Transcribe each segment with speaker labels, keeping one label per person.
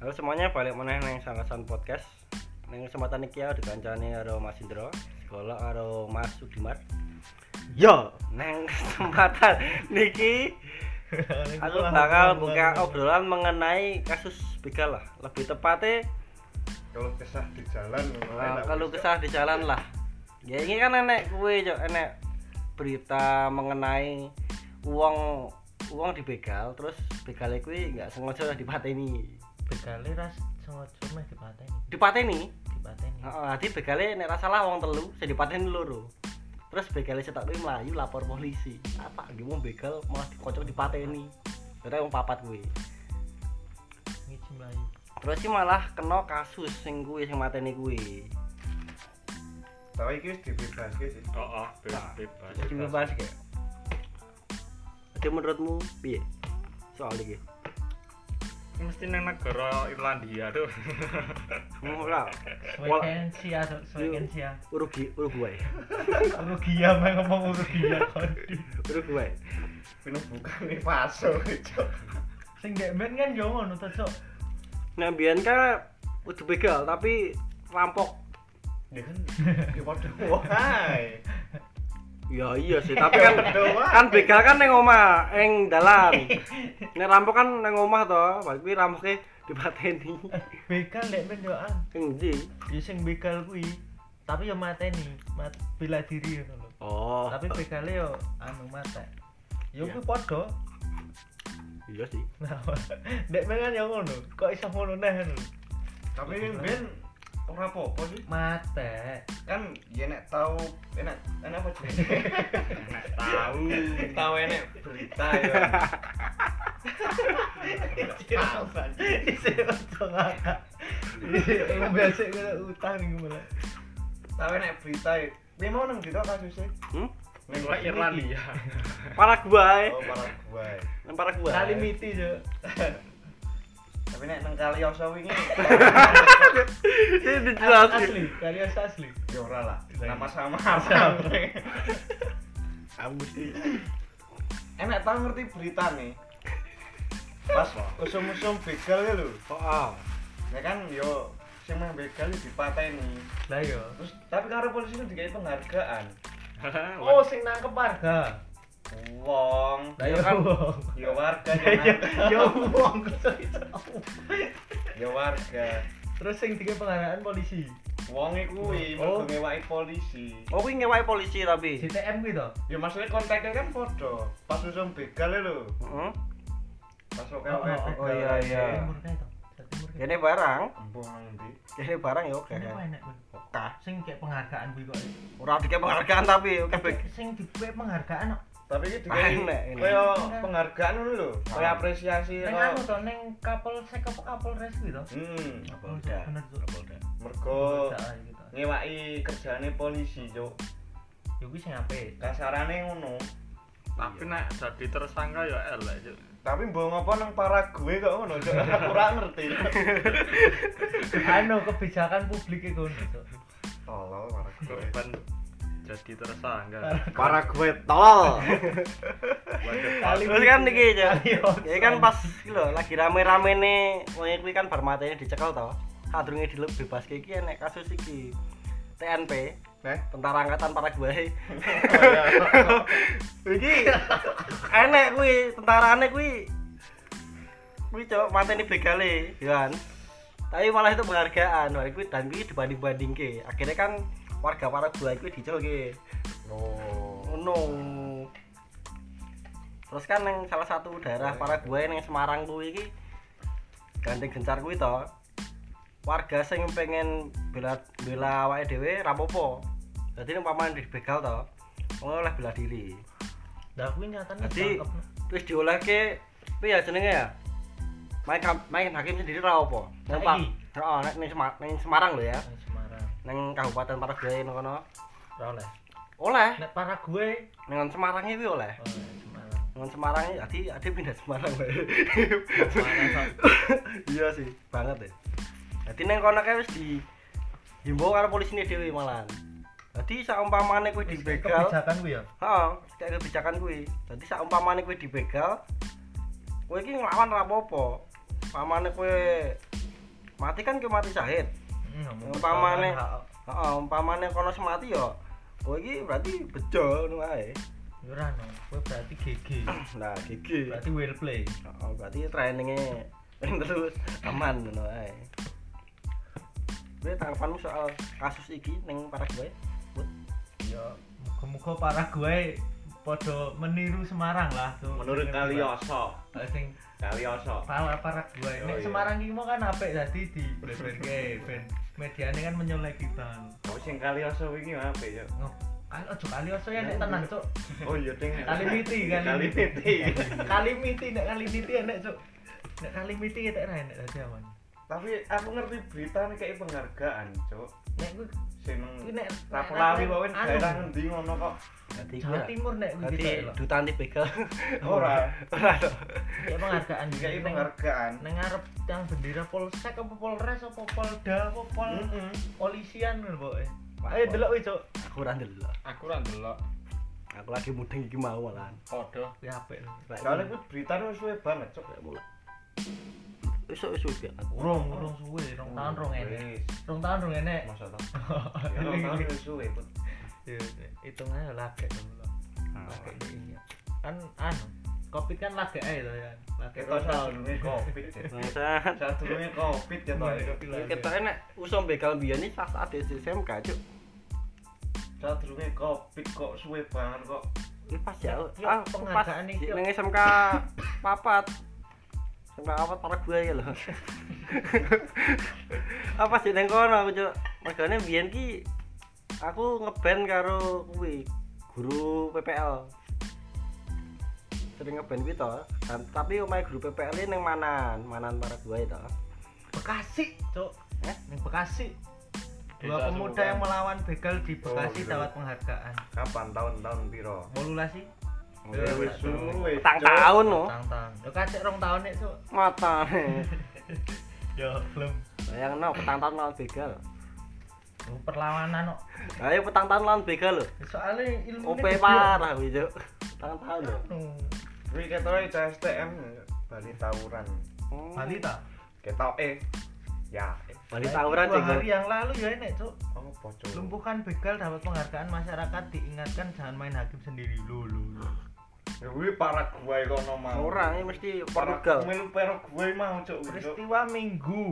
Speaker 1: Halo semuanya, balik meneh nang Sangasan Podcast. Nang kesempatan iki ya dikancani karo Mas Indro, sekolah karo Mas Sudimar.
Speaker 2: Yo,
Speaker 1: Nang kesempatan niki aku bakal buka obrolan mengenai kasus begal lah. Lebih tepatnya
Speaker 3: kalau kesah di jalan
Speaker 1: uh, kalau kesah di jalan lah. Ya ini kan enek kue cok, enek berita mengenai uang uang dibegal terus begalnya kuwi nggak sengaja dipateni
Speaker 2: bekali ras sengaja meh dipateni,
Speaker 1: dipateni
Speaker 2: dipateni.
Speaker 1: Heeh, dadi begale nek ra salah wong telu, sing dipateni loro. Terus begale cetak kuwi mlayu lapor polisi. Ah, Apa iki mau begal malah dikocok dipateni. Terus wong papat kuwi.
Speaker 2: Ngiji mlayu.
Speaker 1: Terus sih malah kena kasus sing kuwi sing mateni kuwi.
Speaker 3: tapi ini dibebas sih
Speaker 4: Oh, oh, bebas, bebas.
Speaker 1: Jadi bebas kayak. Jadi menurutmu piye? Soal iki.
Speaker 4: Mesti nang negara Irlandia tuh.
Speaker 1: Ora.
Speaker 2: Swekensia, swekensia.
Speaker 1: Urugi, Uruguay.
Speaker 2: Urugia meh ngomong Urugia kon.
Speaker 1: Uruguay.
Speaker 3: ini bukan nih faso cok
Speaker 2: Sing dek ben kan yo ngono to, Cok.
Speaker 1: Nah, mbiyen kan kudu begal tapi rampok.
Speaker 3: dia kan dia pada wahai
Speaker 1: Ya iya sih, tapi kan
Speaker 3: Doang.
Speaker 1: kan begal kan neng omah, eng dalan. Nek rampok kan neng omah to, bal kuwi rampoke dipateni.
Speaker 2: Eh, Bekal dek ben yo an.
Speaker 1: Engji.
Speaker 2: Yo sing bekal kuwi tapi yo mateni, mat bela diri yo lho.
Speaker 1: Oh. Ya.
Speaker 2: Tapi bekale yo anu mate. Yo kuwi padha.
Speaker 1: iya sih.
Speaker 2: Nah, dek ben kan yo ngono. Kok iso ngono neh lho.
Speaker 3: tapi yang ben orang apa sih
Speaker 2: Mate.
Speaker 3: kan ya nek tahu enak enak apa sih
Speaker 4: Nek tahu.
Speaker 3: tahu enak berita ya Tahu, anjing.
Speaker 2: biasa gue utang nih gue
Speaker 3: tahu enak berita ya dia mau nang berita kasusnya
Speaker 1: Hmm?
Speaker 4: Negara Irlandia.
Speaker 1: Paraguay.
Speaker 3: oh malah gue
Speaker 1: Nang Paraguay.
Speaker 2: kali miti jo
Speaker 3: tapi nek nang kali oso ini
Speaker 1: Ini dijelas.
Speaker 2: asli kali asli
Speaker 3: ya ora lah nama sama
Speaker 1: Aku sih.
Speaker 3: enak tau ngerti berita nih pas usum-usum begal ya lho
Speaker 1: Oh.
Speaker 3: ya kan yo sing mang begal ya dipateni
Speaker 2: lah yo
Speaker 3: terus tapi karo polisi itu dikai penghargaan
Speaker 2: oh sing nangkep warga
Speaker 3: wong
Speaker 2: lah yo kan
Speaker 3: ya warga
Speaker 1: Iya,
Speaker 2: yo
Speaker 3: ya
Speaker 2: yo uang
Speaker 3: ya warga
Speaker 2: terus sing tiga penghargaan polisi
Speaker 3: wong kuwi
Speaker 2: Oh.
Speaker 3: mergo ngewaki polisi
Speaker 1: Oh kuwi ngewai polisi tapi.
Speaker 2: CTM gitu
Speaker 3: ya maksudnya kontaknya kan podo pas usum begal ya lho
Speaker 1: Heeh.
Speaker 3: pas oke
Speaker 2: Oh, oh,
Speaker 3: begal
Speaker 1: oh, iya, iya.
Speaker 3: aja.
Speaker 2: timur kayak to timur kayak
Speaker 1: Kene barang,
Speaker 3: Embung nang ndi?
Speaker 1: kene barang ya oke.
Speaker 2: ini apa enak gue
Speaker 1: Oke.
Speaker 2: sing kayak penghargaan gue kok
Speaker 1: Ora dikek penghargaan tapi oke baik.
Speaker 2: sing di gue penghargaan
Speaker 3: tapi ini
Speaker 1: Enak,
Speaker 3: dikai
Speaker 1: enak.
Speaker 3: kaya penghargaan ngono lho kaya apresiasi
Speaker 2: neng
Speaker 3: kaya-
Speaker 2: anu to neng kapal sek apa kapal res gitu
Speaker 3: hmm
Speaker 1: Polda.
Speaker 2: Bener, Cuk.
Speaker 1: Polda.
Speaker 3: mergo
Speaker 2: Penghargaan gitu.
Speaker 3: ngewaki kerjane polisi cuk
Speaker 2: yo gue sing apik
Speaker 3: kasarane ngono
Speaker 4: Tapi nek jadi tersangka ya elek. Cuk.
Speaker 3: tapi mbok ngopo nang para gue kok ngono cuk aku ora ngerti
Speaker 2: anu kebijakan publik itu gitu. Cuk.
Speaker 3: tolol para gue
Speaker 4: Korban jadi tersangka.
Speaker 1: Paraguay tolol.
Speaker 4: Waduh,
Speaker 2: Kali-
Speaker 1: Terus kan niki aja.
Speaker 2: Kali
Speaker 1: Ya kan pas iki lho lagi rame-rame nih wong kuwi kan bar matanya dicekel to. Kadrunge dilebebas iki enek kasus iki. TNP,
Speaker 3: Neh.
Speaker 1: Tentara Angkatan Paraguay. Iki enek kuwi tentarane kuwi kuwi cok mateni begale, ya kan. Tapi malah itu penghargaan, wah kuwi dan kuwi dibanding-bandingke. Akhirnya kan warga Paraguay kuwi dicelke.
Speaker 3: oh
Speaker 1: Ngono. Terus kan yang salah satu daerah Paraguay yang Semarang kuwi iki gandeng gencar kuwi to. Warga sing pengen bela bela awake dhewe ra apa-apa. Dadi nek paman dibegal to, wong oleh bela diri.
Speaker 2: Lah kuwi nyatane
Speaker 1: Dadi
Speaker 2: ditangkep.
Speaker 1: wis diolehke piye ya jenenge ya? Main kam- main hakim sendiri ra apa. Nang Pak.
Speaker 2: Saiki?
Speaker 1: Heeh, nek ning Semar- ning Semarang lho ya.
Speaker 2: Nang Semarang.
Speaker 1: Ning Kabupaten Paraguay nang kono.
Speaker 2: Ora oleh.
Speaker 1: Oleh,
Speaker 2: Nek para gue
Speaker 1: nang Semarang iki oleh.
Speaker 2: oleh Semarang.
Speaker 1: Nang Semarang ya, adi adi pindah Semarang. Mbak. iya sih, banget ya. Jadi neng kono kae wis di himbau karo polisine dhewe malahan. Jadi saumpamane kowe
Speaker 2: Wis
Speaker 1: dibegal,
Speaker 2: kebijakan kuwi ya.
Speaker 1: heeh, kayak kebijakan kuwi. Dadi saumpamane kowe dibegal, kowe iki nglawan ra apa-apa. Pamane kowe mati kan ke mati syahid
Speaker 2: Hmm,
Speaker 1: Umpamane- heeh umpamane kono semati ya kowe iki berarti bejo ngono ae
Speaker 2: Ya Ora no, kowe berarti GG.
Speaker 1: nah gigi
Speaker 2: Berarti well play.
Speaker 1: heeh Oh, berarti trainingnya terus aman ngono ae Gue tanggapanmu soal kasus iki neng para gue
Speaker 2: Ya muga-muga para gue podo meniru Semarang lah tuh.
Speaker 3: Menurut Kalioso,
Speaker 2: Ah, sing
Speaker 3: Kalioso.
Speaker 2: para para gue.
Speaker 3: Oh,
Speaker 2: Nek
Speaker 3: iya.
Speaker 2: Semarang iki mau kan apik tadi di BBK ben mediane kan menyolek kita.
Speaker 3: Oh sing Kalioso wingi apa ya?
Speaker 2: Ngoh, Kan ojo kali oso ya nek tenan, Cuk.
Speaker 3: Oh iya ding.
Speaker 2: Kalimiti,
Speaker 3: Kalimiti.
Speaker 2: Kalimiti nek kalimiti enak, Cuk. Nek kalimiti etek ra enak dadi awan.
Speaker 3: Tapi aku ngerti berita nih kayak penghargaan, Cuk.
Speaker 2: Nek kuwi
Speaker 3: Seneng.
Speaker 2: Kuwi nek-
Speaker 3: Rapor
Speaker 2: nek-
Speaker 3: lawi
Speaker 2: nek- Iya.
Speaker 3: bawen
Speaker 2: anu.
Speaker 3: daerah ngendi ngono kok.
Speaker 1: berarti
Speaker 2: Jawa
Speaker 1: gue
Speaker 2: Timur nek kuwi
Speaker 1: berarti
Speaker 2: gitu lho.
Speaker 1: duta anti begal
Speaker 3: Ora,
Speaker 1: ora to
Speaker 2: Kayak penghargaan gitu.
Speaker 3: kayak
Speaker 2: Neng-
Speaker 3: penghargaan.
Speaker 2: neng ngarep yang bendera polsek apa polres apa polda apa pol
Speaker 3: Heeh.
Speaker 2: polisian ngono eh. pokoke.
Speaker 1: Wah,
Speaker 2: Hmm? Ayo
Speaker 1: pol-
Speaker 2: delok wis, Cuk.
Speaker 1: aku ora ndelok
Speaker 4: Aku ra ndelok.
Speaker 1: aku lagi mudeng iki mau lan
Speaker 4: Padha.
Speaker 2: Kuwi apik. lho.
Speaker 3: Soalnya kuwi berita wis suwe banget, Cuk.
Speaker 1: Esok esok ya.
Speaker 2: Urung, urung suwe, rong tahun rong enek.
Speaker 3: Wis.
Speaker 2: Rong tahun rong enek.
Speaker 3: Masa tak? Ya rong tahun wis suwe, Put.
Speaker 2: Iya, iya. Hitungannya lagek dong, lho. Lagek ini. Kan anu, Covid kan lagek ae to ya. Lagek
Speaker 3: Kita
Speaker 2: total.
Speaker 3: sadurunge Covid. Cuk.
Speaker 1: Bangsat.
Speaker 3: Sadurunge Covid ya to.
Speaker 2: Iya,
Speaker 3: Cuk.
Speaker 2: iya.
Speaker 1: Kita enak usum begal biyen iki pas ada di SMK cuk.
Speaker 3: Sadurunge Covid kok suwe banget kok.
Speaker 1: Ini pas ya.
Speaker 2: Yuk,
Speaker 1: Ah, pas
Speaker 2: penghargaan nih,
Speaker 1: di-
Speaker 2: yuk.
Speaker 1: nang SMK papat. SMK papat para gue ya lho. Apa sih nang kono aku cuk. Mergane biyen ki aku ngeband karo kuwi guru PPL. Sering ngeband kuwi to. Dan- Tapi omahe guru PPL ini nang Manan, Manan para gue to.
Speaker 2: Bekasi, Cuk.
Speaker 1: Eh?
Speaker 2: Ning Bekasi. Dua
Speaker 4: Desa
Speaker 2: pemuda
Speaker 4: Sumukan.
Speaker 2: yang melawan begal di
Speaker 3: Oh,
Speaker 2: Bekasi
Speaker 3: gitu.
Speaker 2: dapat penghargaan.
Speaker 3: Kapan tahun-tahun piro?
Speaker 2: Molulah sih.
Speaker 3: Ya wis suwe.
Speaker 1: Petang
Speaker 3: Cuk.
Speaker 1: tahun loh.
Speaker 2: Tang-tang. Yo kacek rong tahun nek, Cuk.
Speaker 1: mata nih
Speaker 2: Yo, belum.
Speaker 1: bayang no petang tahun lawan begal
Speaker 2: Lu perlawanan kok.
Speaker 1: ayo petang tahun lawan begal loh
Speaker 2: Soalnya ilmu
Speaker 1: OP parah gitu petang tahun loh
Speaker 3: Kuwi ketoke CSTM Bali tawuran.
Speaker 1: Hmm.
Speaker 2: Bali ta?
Speaker 3: Ketoke. Ya, eh,
Speaker 1: Bali tawuran
Speaker 2: Dua
Speaker 1: sih
Speaker 2: hari yang lalu ya nek, Cuk.
Speaker 3: apa Cuk?
Speaker 2: Lumpuhkan begal dapat penghargaan masyarakat diingatkan jangan main hakim sendiri. Lu lu. lu.
Speaker 3: Ya kuwi Paraguay kono mau.
Speaker 1: orang ini mesti
Speaker 3: Portugal.
Speaker 1: Portugal
Speaker 3: Melu Paraguay mau Cuk. kuwi, Cuk.
Speaker 2: Peristiwa Minggu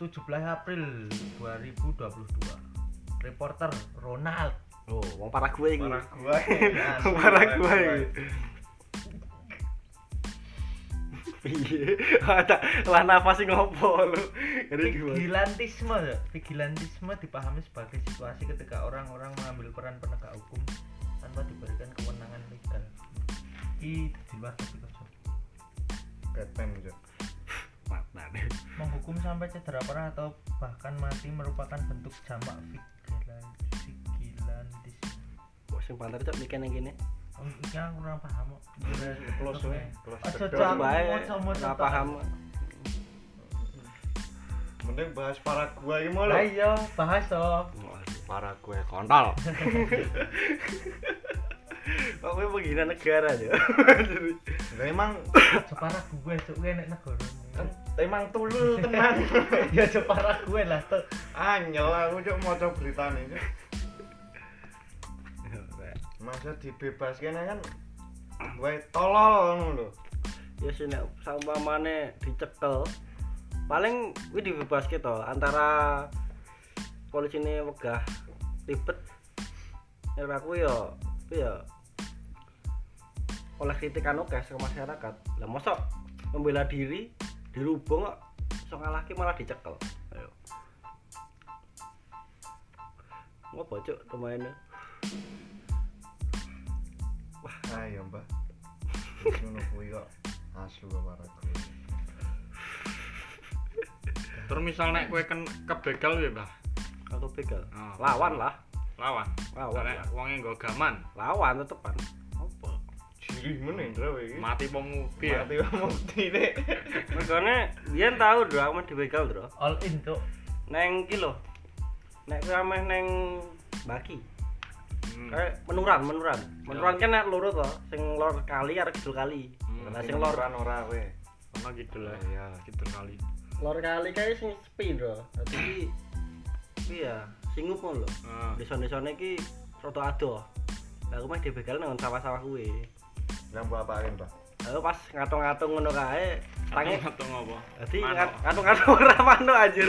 Speaker 2: 17 April 2022. Reporter Ronald
Speaker 1: oh wong parah gue ini
Speaker 3: Paraguay. asli,
Speaker 1: Paraguay. piye ada lah nafas sih ngopo lu ini gimana
Speaker 2: Vigilantisme, ya. vigilantisme dipahami sebagai situasi ketika orang-orang mengambil peran penegak hukum tanpa diberikan kewenangan legal. Di di luar topik aja.
Speaker 3: Batman Cuk.
Speaker 1: makna Nah, deh
Speaker 2: Menghukum sampai cedera parah atau bahkan mati merupakan bentuk jamak vigilan, vigilantisme.
Speaker 1: wah sing pantar cok mikir yang gini
Speaker 2: Oh, ini aku kurang paham kok.
Speaker 3: Close wae. Close
Speaker 2: Aja,
Speaker 3: the
Speaker 2: Cuk.
Speaker 3: door.
Speaker 1: terus bae
Speaker 2: Moco-moco
Speaker 1: nggak
Speaker 2: tak.
Speaker 1: paham
Speaker 3: Mending bahas Paraguay mau
Speaker 2: Lah
Speaker 3: lho.
Speaker 2: iya, bahas toh.
Speaker 1: Paraguay kontol. Kok gue penghina negara ya?
Speaker 3: Lah emang
Speaker 2: Separah gue, cuk gue nek negara.
Speaker 3: kan emang tulul tenan.
Speaker 2: Ya separah gue lah tuh.
Speaker 3: Anyel aku Cuk maca beritane Cuk. Masa dibebaskan kan wae tolol ngono lho.
Speaker 1: ya sih nek saumpamane dicekel paling gue dibebas gitu antara polisi ini wegah ribet ya aku ya tapi ya oleh kritikan oke ke masyarakat lah mosok membela diri dirubung kok sok laki malah dicekel ayo ngopo cuk lumayan ya.
Speaker 3: Ayo, Ah, iya, Mbak. Wis ngono kuwi kok asu kok Paraguay.
Speaker 4: Terus misal nek kowe ken kebegal piye, Mbah?
Speaker 1: aku begal
Speaker 4: Ah,
Speaker 1: lawan lah
Speaker 4: Lawan.
Speaker 1: Lawan,
Speaker 4: Misal Nek
Speaker 1: lawan.
Speaker 4: wonge nggo gaman,
Speaker 1: lawan tetepan apa
Speaker 3: Jirih meneh Indra wae iki.
Speaker 4: mati ya? wong piye?
Speaker 3: Mati wae mukti nek.
Speaker 1: Makanya biyen tahu dro aku mah dibegal dro.
Speaker 2: All in cuk.
Speaker 1: Neng iki lho. Nek kowe ameh neng Baki.
Speaker 4: Hmm.
Speaker 1: Eh menuran, menuran. Menuran kan nek loro to, sing lor kali arek kidul kali.
Speaker 4: Hmm.
Speaker 1: Nah sing lor
Speaker 3: ora ora kowe.
Speaker 4: Ono kidul lah.
Speaker 3: Eh. Iya.
Speaker 4: Kidul kali.
Speaker 1: lor kali kae sing sepi lho. Dadi iki iya, sing ngono lho.
Speaker 4: Heeh.
Speaker 1: Desa-desane iki rada adoh. Lah aku mah dibegal nang sawah-sawah kuwi.
Speaker 3: yang buat apa pak
Speaker 1: Lalu pas ngatung-ngatung ngono kae, tangi
Speaker 4: atau ngopo?
Speaker 1: dadi
Speaker 4: Mano.
Speaker 1: ngat- ngatung-ngatung ora mano anjir.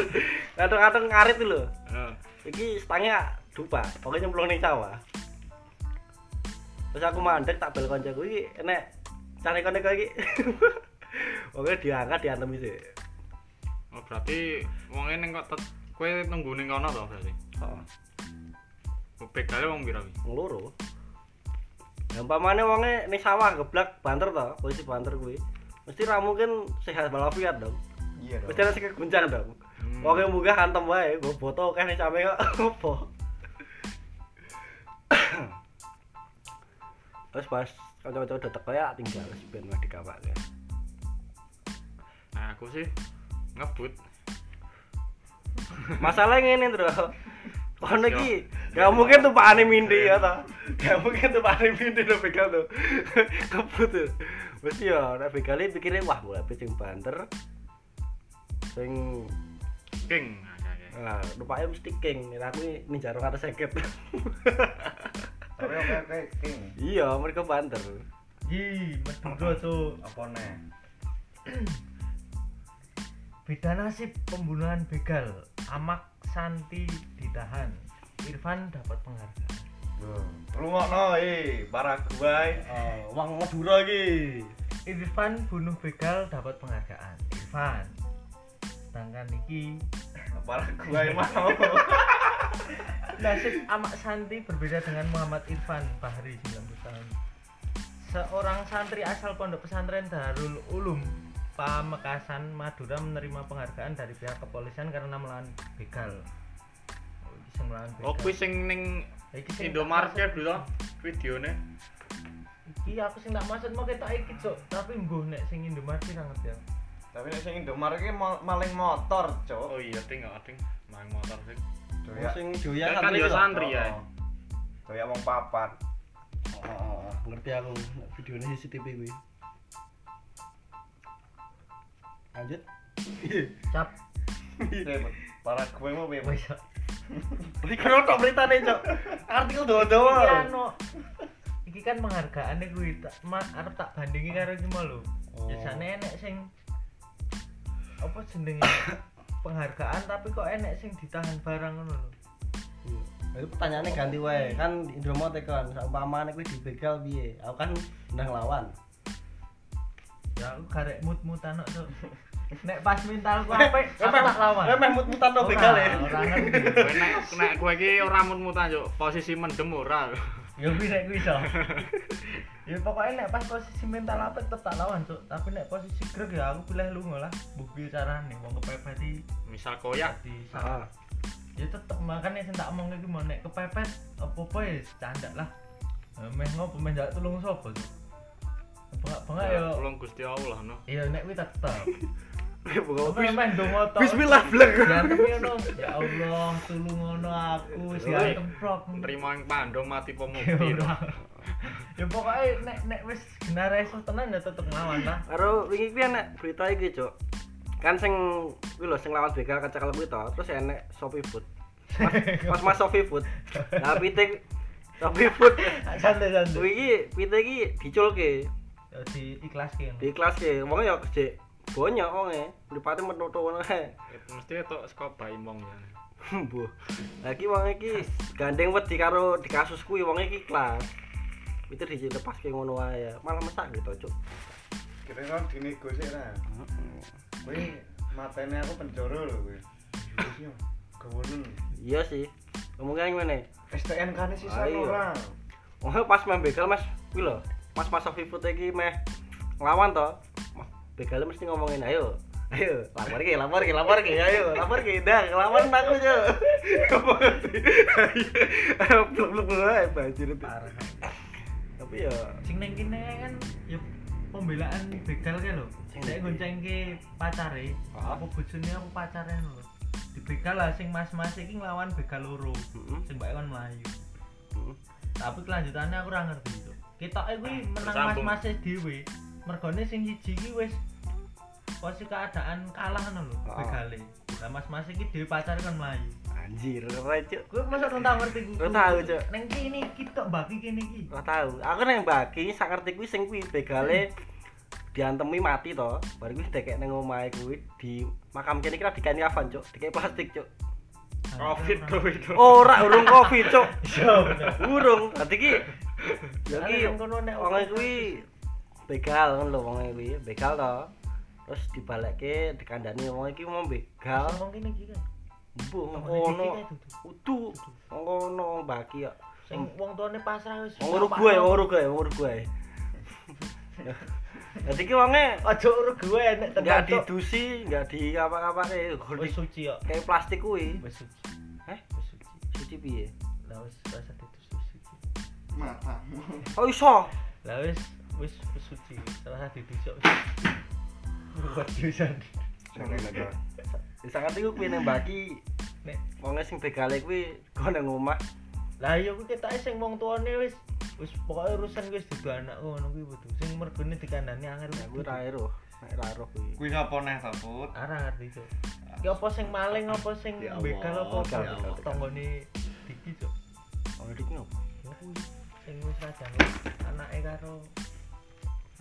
Speaker 1: Ngatung-ngatung ngarit lho.
Speaker 4: Heeh.
Speaker 1: Iki stangnya dupa, pokoknya nyemplung ning sawah. Terus aku mandek tak bel koncoku iki enek cari konek iki. Pokoknya diangkat diantemi sih.
Speaker 4: Oh, berarti wong ning kok tet kowe nunggu ning kono to berarti.
Speaker 1: Heeh.
Speaker 4: Bekale wong pira iki?
Speaker 1: ngeloro ya umpamane wonge ning sawah geblak banter to posisi banter kuwi mesti ra mungkin sehat walafiat dong
Speaker 3: iya
Speaker 1: mesti ada sing keguncang dong
Speaker 4: Hmm.
Speaker 1: wonge munggah antem wae go boto kan ning sampe kok opo terus pas kanca-kanca udah teko ya tinggal wis ben wis dikawake
Speaker 4: Nah, aku sih ngebut.
Speaker 1: masalahnya ngene Ndro kono iki gak mungkin tuh pakane mindi ya ta gak mungkin tuh pakane mindi lo begal tuh kebut tuh mesti ya nek begale pikire wah gue habis sing banter sing
Speaker 4: King. Oke, oke.
Speaker 1: nah rupanya mesti king nek aku ini ninja rong atas seket
Speaker 3: tapi oke oke king
Speaker 1: iya mereka banter
Speaker 2: Yi, Madura tuh
Speaker 3: apa nih
Speaker 2: beda nasib pembunuhan begal. Amak Santi ditahan. Irfan dapat penghargaan.
Speaker 3: rumah no eh Paraguay
Speaker 1: oh wong Madura iki
Speaker 2: Irfan bunuh begal dapat penghargaan. Irfan. Sedangkan iki
Speaker 3: Paraguay mau
Speaker 2: nasib Amak Santi berbeda dengan Muhammad Irfan Bahri 19 tahun. Seorang santri asal Pondok Pesantren Darul Ulum Pamekasan Madura menerima penghargaan dari pihak kepolisian karena melawan begal. Oh, iki sing melawan begal.
Speaker 4: Oh, kuwi sing ning
Speaker 2: Iki sing tak
Speaker 4: Indomarket dulu toh, videone.
Speaker 2: maksud- Iki Iya, aku sing tak maksud mau ketok iki, Cuk. Tapi nggo nek sing Indomaret ya. ra ngerti aku.
Speaker 3: tapi nek sing Indomaret ki mal- maling motor cok
Speaker 4: Oh iya, ting nggak ting. Main motor sih.
Speaker 3: Doyak-
Speaker 1: sing doyan
Speaker 4: Kan
Speaker 1: santri
Speaker 4: yo
Speaker 1: lho.
Speaker 4: santri ya.
Speaker 3: Oh, oh. doyak wong papat
Speaker 1: Oh, ngerti aku Nek videonya CCTV ya. kuwi lanjut
Speaker 2: Cap.
Speaker 3: Paraguay mau bebas
Speaker 2: Wis.
Speaker 1: Berarti kono tok beritane, Cok. Artikel dodo.
Speaker 2: Iki anu. Iki kan penghargaane kuwi tak ma- arep tak bandingi karo iki mau lho.
Speaker 1: Oh.
Speaker 2: Biasane Ya, enek sing apa jenenge penghargaan tapi kok enek sing ditahan barang ngono lho.
Speaker 1: Itu pertanyaannya ganti wae. Kan Indomot ya kan, umpamane kuwi dibegal piye? Aku kan ndang lawan.
Speaker 2: Ya aku karek mut-mutan kok. Cuk. Nek pas mentalku apik, aku
Speaker 1: eh,
Speaker 2: tak lawan.
Speaker 1: Lah meh mut-mutan to begal ya.
Speaker 2: Ora, ora ngerti.
Speaker 4: Kowe nek nek kowe iki ora mut-mutan yo, posisi mendem ora.
Speaker 2: Ya kuwi nek kuwi iso. ya pokoknya nek pas posisi mental apa tetep tak lawan cuk. Tapi nek posisi greg ya aku pilih lunga lah. Bukti carane wong kepepet iki
Speaker 4: Misal koyak.
Speaker 2: di
Speaker 1: Heeh.
Speaker 2: Ya tetep makane sing tak omongke iki mau nek kepepet apa-apa ya candak lah. Eh, Meh ngopo meh njaluk tulung sapa cuk. Bengak-bengak ya.
Speaker 4: Tolong Gusti Allah no.
Speaker 2: Iya nek kuwi tetep.
Speaker 1: Buka
Speaker 2: Tapi meh ndonga tok.
Speaker 1: Bismillah blek.
Speaker 2: Diantem ngono. Ya Allah, tulung ngono aku diantem prok.
Speaker 4: Terima yang pando mati pemukti.
Speaker 2: Ora. ya pokoknya nek nek wis genar iso tenan ya tetep nglawan lah
Speaker 1: Karo wingi kuwi enak berita iki, Cok. Kan sing kuwi lho sing lawan begal kecekel kuwi to, terus enek Shopee Food. Mas, mas, mas Shopee Food. Nah, pitik Shopee Food.
Speaker 2: santai santai
Speaker 1: Kuwi iki pitik iki diculke.
Speaker 2: Ya, di ikhlas
Speaker 1: di kelas ke wong ya kerja banyak wong e mripate metu-metu ngono ae
Speaker 4: Mesti itu saka baimong ya.
Speaker 1: mbuh lagi wong iki gandeng wedi karo di kasus kuwi wong iki kelas itu dilepas ke ngono ae malah mesak gitu cuk
Speaker 3: kira-kira dinegosik ra kuwi matene aku penjara lho kuwi Iya, gawonen
Speaker 1: iya sih kemungkinan gimana
Speaker 3: STNK ne sisa
Speaker 1: Ah, iya.
Speaker 3: ora
Speaker 1: wong e pas main begal mas kuwi lho mas mas Sofi Putri iki meh nglawan to Mas, begalnya mesti ngomongin ayo ayo lapor ke lapor ke lapor ke ayo lapor ke dah lawan aku cuk ayo blok blok blok ae banjir itu
Speaker 2: parah
Speaker 1: tapi ya
Speaker 2: sing neng kene kan ya pembelaan begal kan lho
Speaker 1: Sing
Speaker 2: saya
Speaker 1: ndi?
Speaker 2: gonceng ke pacare
Speaker 1: Ah.
Speaker 2: apa bojone apa pacare lho dibegal lah sing mas-mas iki nglawan begal loro
Speaker 1: Mm-mm.
Speaker 2: sing mbake kon mlayu
Speaker 1: Mm.
Speaker 2: tapi kelanjutannya aku ora ngerti
Speaker 1: Ah,
Speaker 2: itu kita kuwi menang
Speaker 4: Tersambung.
Speaker 2: mas-mas dhewe mergone sing siji iki wis posisi keadaan kalah ngono lho,
Speaker 1: Oh.
Speaker 2: begale. Lah mas-mas iki dhewe pacar kan mlayu.
Speaker 1: Anjir, ora cuk.
Speaker 2: Gue masuk nang tau ngerti gue.
Speaker 1: Ora tahu, Cuk.
Speaker 2: Neng kini kita bagi kini iki.
Speaker 1: Ora tahu. Aku nang bagi sak ngerti kuwi sing kuwi begale diantemi mati to. Bar kuwi dekek nang omahe kuwi di makam kene kira dikani kafan cuk, dikek plastik cuk.
Speaker 2: Nah, Oh,
Speaker 4: Covid covid.
Speaker 1: Oh, Ora urung covid cuk.
Speaker 2: Yo. Iya, bener.
Speaker 1: Urung. Dadi ki ya
Speaker 2: Soalnya
Speaker 1: ki
Speaker 2: nang kono nek
Speaker 1: wong kuwi begal kan lho wong kuwi, begal to. Terus dibalekke dikandani wong iki mau begal.
Speaker 2: Ngomong kini iki kan.
Speaker 1: Mbuh
Speaker 2: Ngomongnya
Speaker 1: ngono.
Speaker 2: dikit ae,
Speaker 1: Udu
Speaker 2: Dudu.
Speaker 1: ngono bagi ya.
Speaker 2: Sing wong tuane pasrah wis.
Speaker 1: Wong ya, Uruguay, wong Uruguay, wong Uruguay. Jadi ki wonge
Speaker 2: Aja urus gue ya, nek
Speaker 1: nggak
Speaker 2: tenan Cuk.
Speaker 1: didusi, nggak di apa-apa
Speaker 2: Wis
Speaker 1: kayak
Speaker 2: suci yo.
Speaker 1: plastik kuwi.
Speaker 2: Wis suci.
Speaker 1: Heh?
Speaker 2: Wis suci.
Speaker 1: Suci piye?
Speaker 2: Lah wis rasa ditus wis suci.
Speaker 3: matamu
Speaker 1: Oh iso.
Speaker 2: Lah wis wis wis suci. Rasa ditusuk. Buat jurusan.
Speaker 3: sorry lah Dok.
Speaker 1: Bisa Ya, ngerti ku kuwi nang bagi
Speaker 2: Nek
Speaker 1: wonge sing begale kuwi kon nang omah.
Speaker 2: Lah iya kuwi ketoke sing wong tuane wis wis pokoke urusan kuwi wis dudu anak ngono kuwi kudu. Sing mergone dikandani angel
Speaker 1: Ya kuwi ra ero. Nek ra ero kuwi.
Speaker 4: Kuwi sapa neh ta, Put?
Speaker 2: Ora ngerti cuk. Ki apa sing maling apa sing
Speaker 4: Ya Allah,
Speaker 2: begal apa
Speaker 1: ya
Speaker 2: apa
Speaker 1: Allah.
Speaker 2: tanggane iki cuk.
Speaker 1: Oh iki ngopo?
Speaker 2: Ya kuwi sing wis rajang anake karo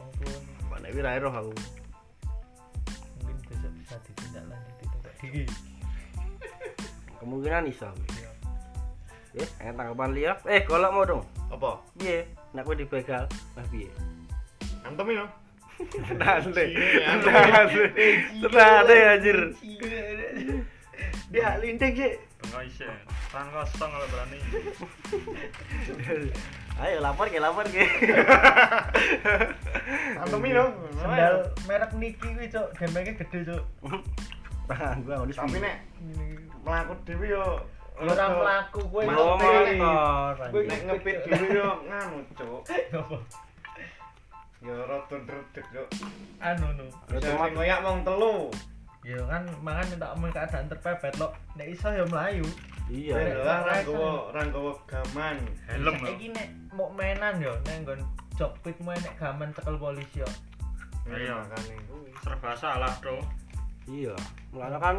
Speaker 2: wong tuane
Speaker 1: Kok nek kuwi ra ero aku.
Speaker 2: mungkin bisa bisa ditindak lanjut itu diri.
Speaker 1: Kemungkinan iso. kuwi.
Speaker 2: Ya.
Speaker 1: Eh, ada tanggapan liya. Eh, golek mau dong.
Speaker 4: Apa?
Speaker 1: Piye? Nek kuwi dibegal, nah piye?
Speaker 4: Antem ya?
Speaker 1: Tenang deh. Tenang
Speaker 3: Eh,
Speaker 1: deh. Tenang deh anjir.
Speaker 2: Dia linting sih.
Speaker 4: Bengok isih. Tangan kosong kalau berani.
Speaker 1: Ayo lapor ke lapor ke.
Speaker 3: Antemi no.
Speaker 2: Sendal merek Nike kuwi cuk, dempengnya gede cuk.
Speaker 1: Tangan Nah, gua udah
Speaker 3: Tapi nek mlaku dhewe yo
Speaker 2: Ora mlaku kowe
Speaker 1: Mau
Speaker 3: Mas,
Speaker 2: ngerti.
Speaker 1: motor.
Speaker 2: Gue
Speaker 1: anjir.
Speaker 3: Nek ngepit dhewe yo nganu cuk.
Speaker 2: Apa?
Speaker 3: Yo Ya, rada ndredeg cuk.
Speaker 2: Anu no.
Speaker 1: Ya,
Speaker 3: Bisa
Speaker 1: cuma-
Speaker 3: sing koyak wong telu.
Speaker 2: Ya kan mangan tak omong keadaan terpepet lo. Nek iso ya mlayu.
Speaker 1: Iya.
Speaker 3: Ya lah
Speaker 2: Ora
Speaker 3: ra
Speaker 2: iso.
Speaker 3: nggawa ra nggawa gaman.
Speaker 4: Helm ya. lho.
Speaker 2: Saiki nek mau mainan yo neng nggon jokpit mu nek gaman cekel polisi yo.
Speaker 4: Iya.
Speaker 3: makane kuwi.
Speaker 4: Serba salah, Bro.
Speaker 1: Iya. Mulane kan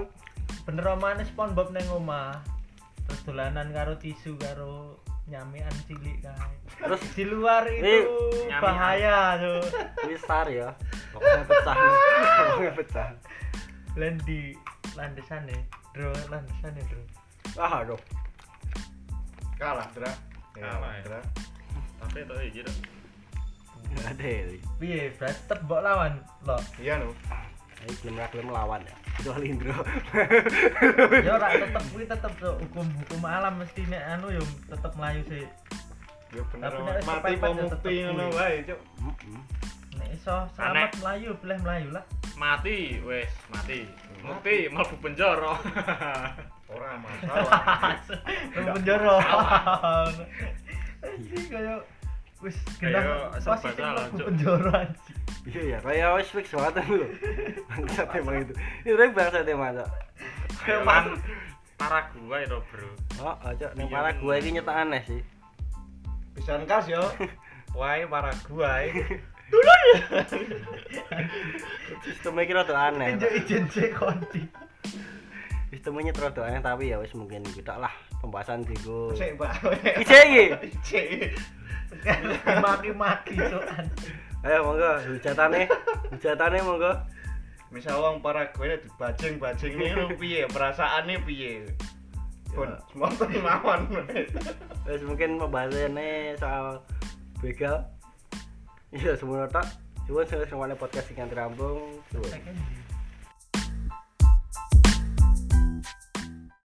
Speaker 2: Bener omane SpongeBob neng omah. Terus dolanan karo tisu karo nyamian cilik kae.
Speaker 1: terus
Speaker 2: Di luar
Speaker 1: Nih,
Speaker 2: itu
Speaker 4: nyamian.
Speaker 2: bahaya tuh.
Speaker 1: wis sar ya. Pokoknya pecah. Pokoknya pecah.
Speaker 2: Lendi landesan ya. Dro landesan ya dro.
Speaker 1: Ah, aduh.
Speaker 3: Kalah, Dra.
Speaker 4: Kalah, ya.
Speaker 3: Dra.
Speaker 4: Tapi itu iki, Dok.
Speaker 1: Nggak Ada ini.
Speaker 2: Piye berarti tebok lawan lo.
Speaker 3: Iya no.
Speaker 1: Ayo gelem ra gelem lawan ya. Dol Indro.
Speaker 2: Ya ora tetep kuwi tetep tuh hukum hukum alam mesti nek anu yo tetep mlayu sih.
Speaker 3: Yo Ya, bener
Speaker 2: Tapi nek wis
Speaker 3: mati
Speaker 2: kepepet ya tetep
Speaker 3: pemupi ngono
Speaker 2: kuwi.
Speaker 3: wae cuk.
Speaker 1: Mm-mm.
Speaker 2: Nek iso selamat mlayu boleh mlayu lah.
Speaker 4: Mati, wes, mati. Mati, mlebu penjara.
Speaker 3: Ora masalah.
Speaker 2: Nang penjara. Anjing kaya wis genah
Speaker 4: Kayak serba
Speaker 2: posisi
Speaker 4: salah,
Speaker 2: mlebu
Speaker 4: Cuk.
Speaker 2: penjara anjing.
Speaker 1: Iya ya, kayak wis fix banget lho. Bangsa tema itu. Ini udah bangsa tema Cok.
Speaker 4: Kan Paraguay to, Bro.
Speaker 1: Oh, oh, Cok, ning para gua iki nyetak aneh sih.
Speaker 3: Pisan kas yo. Wae para gua ae.
Speaker 1: Sistemnya kira rada aneh.
Speaker 2: Pinjok izin sih konti.
Speaker 1: Sistemnya rada aneh tapi ya wis mungkin kita lah pembahasan digo.
Speaker 3: Sik, Pak.
Speaker 1: Ije iki.
Speaker 3: Sik.
Speaker 2: Maki-maki cuk anjing.
Speaker 1: Ayo monggo hujatane. Hujatane monggo.
Speaker 3: Misal wong Paraguay dibajing-bajing ngono piye? Perasaane piye? Pun
Speaker 1: Ya.
Speaker 3: motor mawon.
Speaker 1: Wis mungkin pembahasannya soal begal. Iya, semua tak. Cuma saya semuanya podcast yang rambung. Suwun.
Speaker 2: Saiki ndi?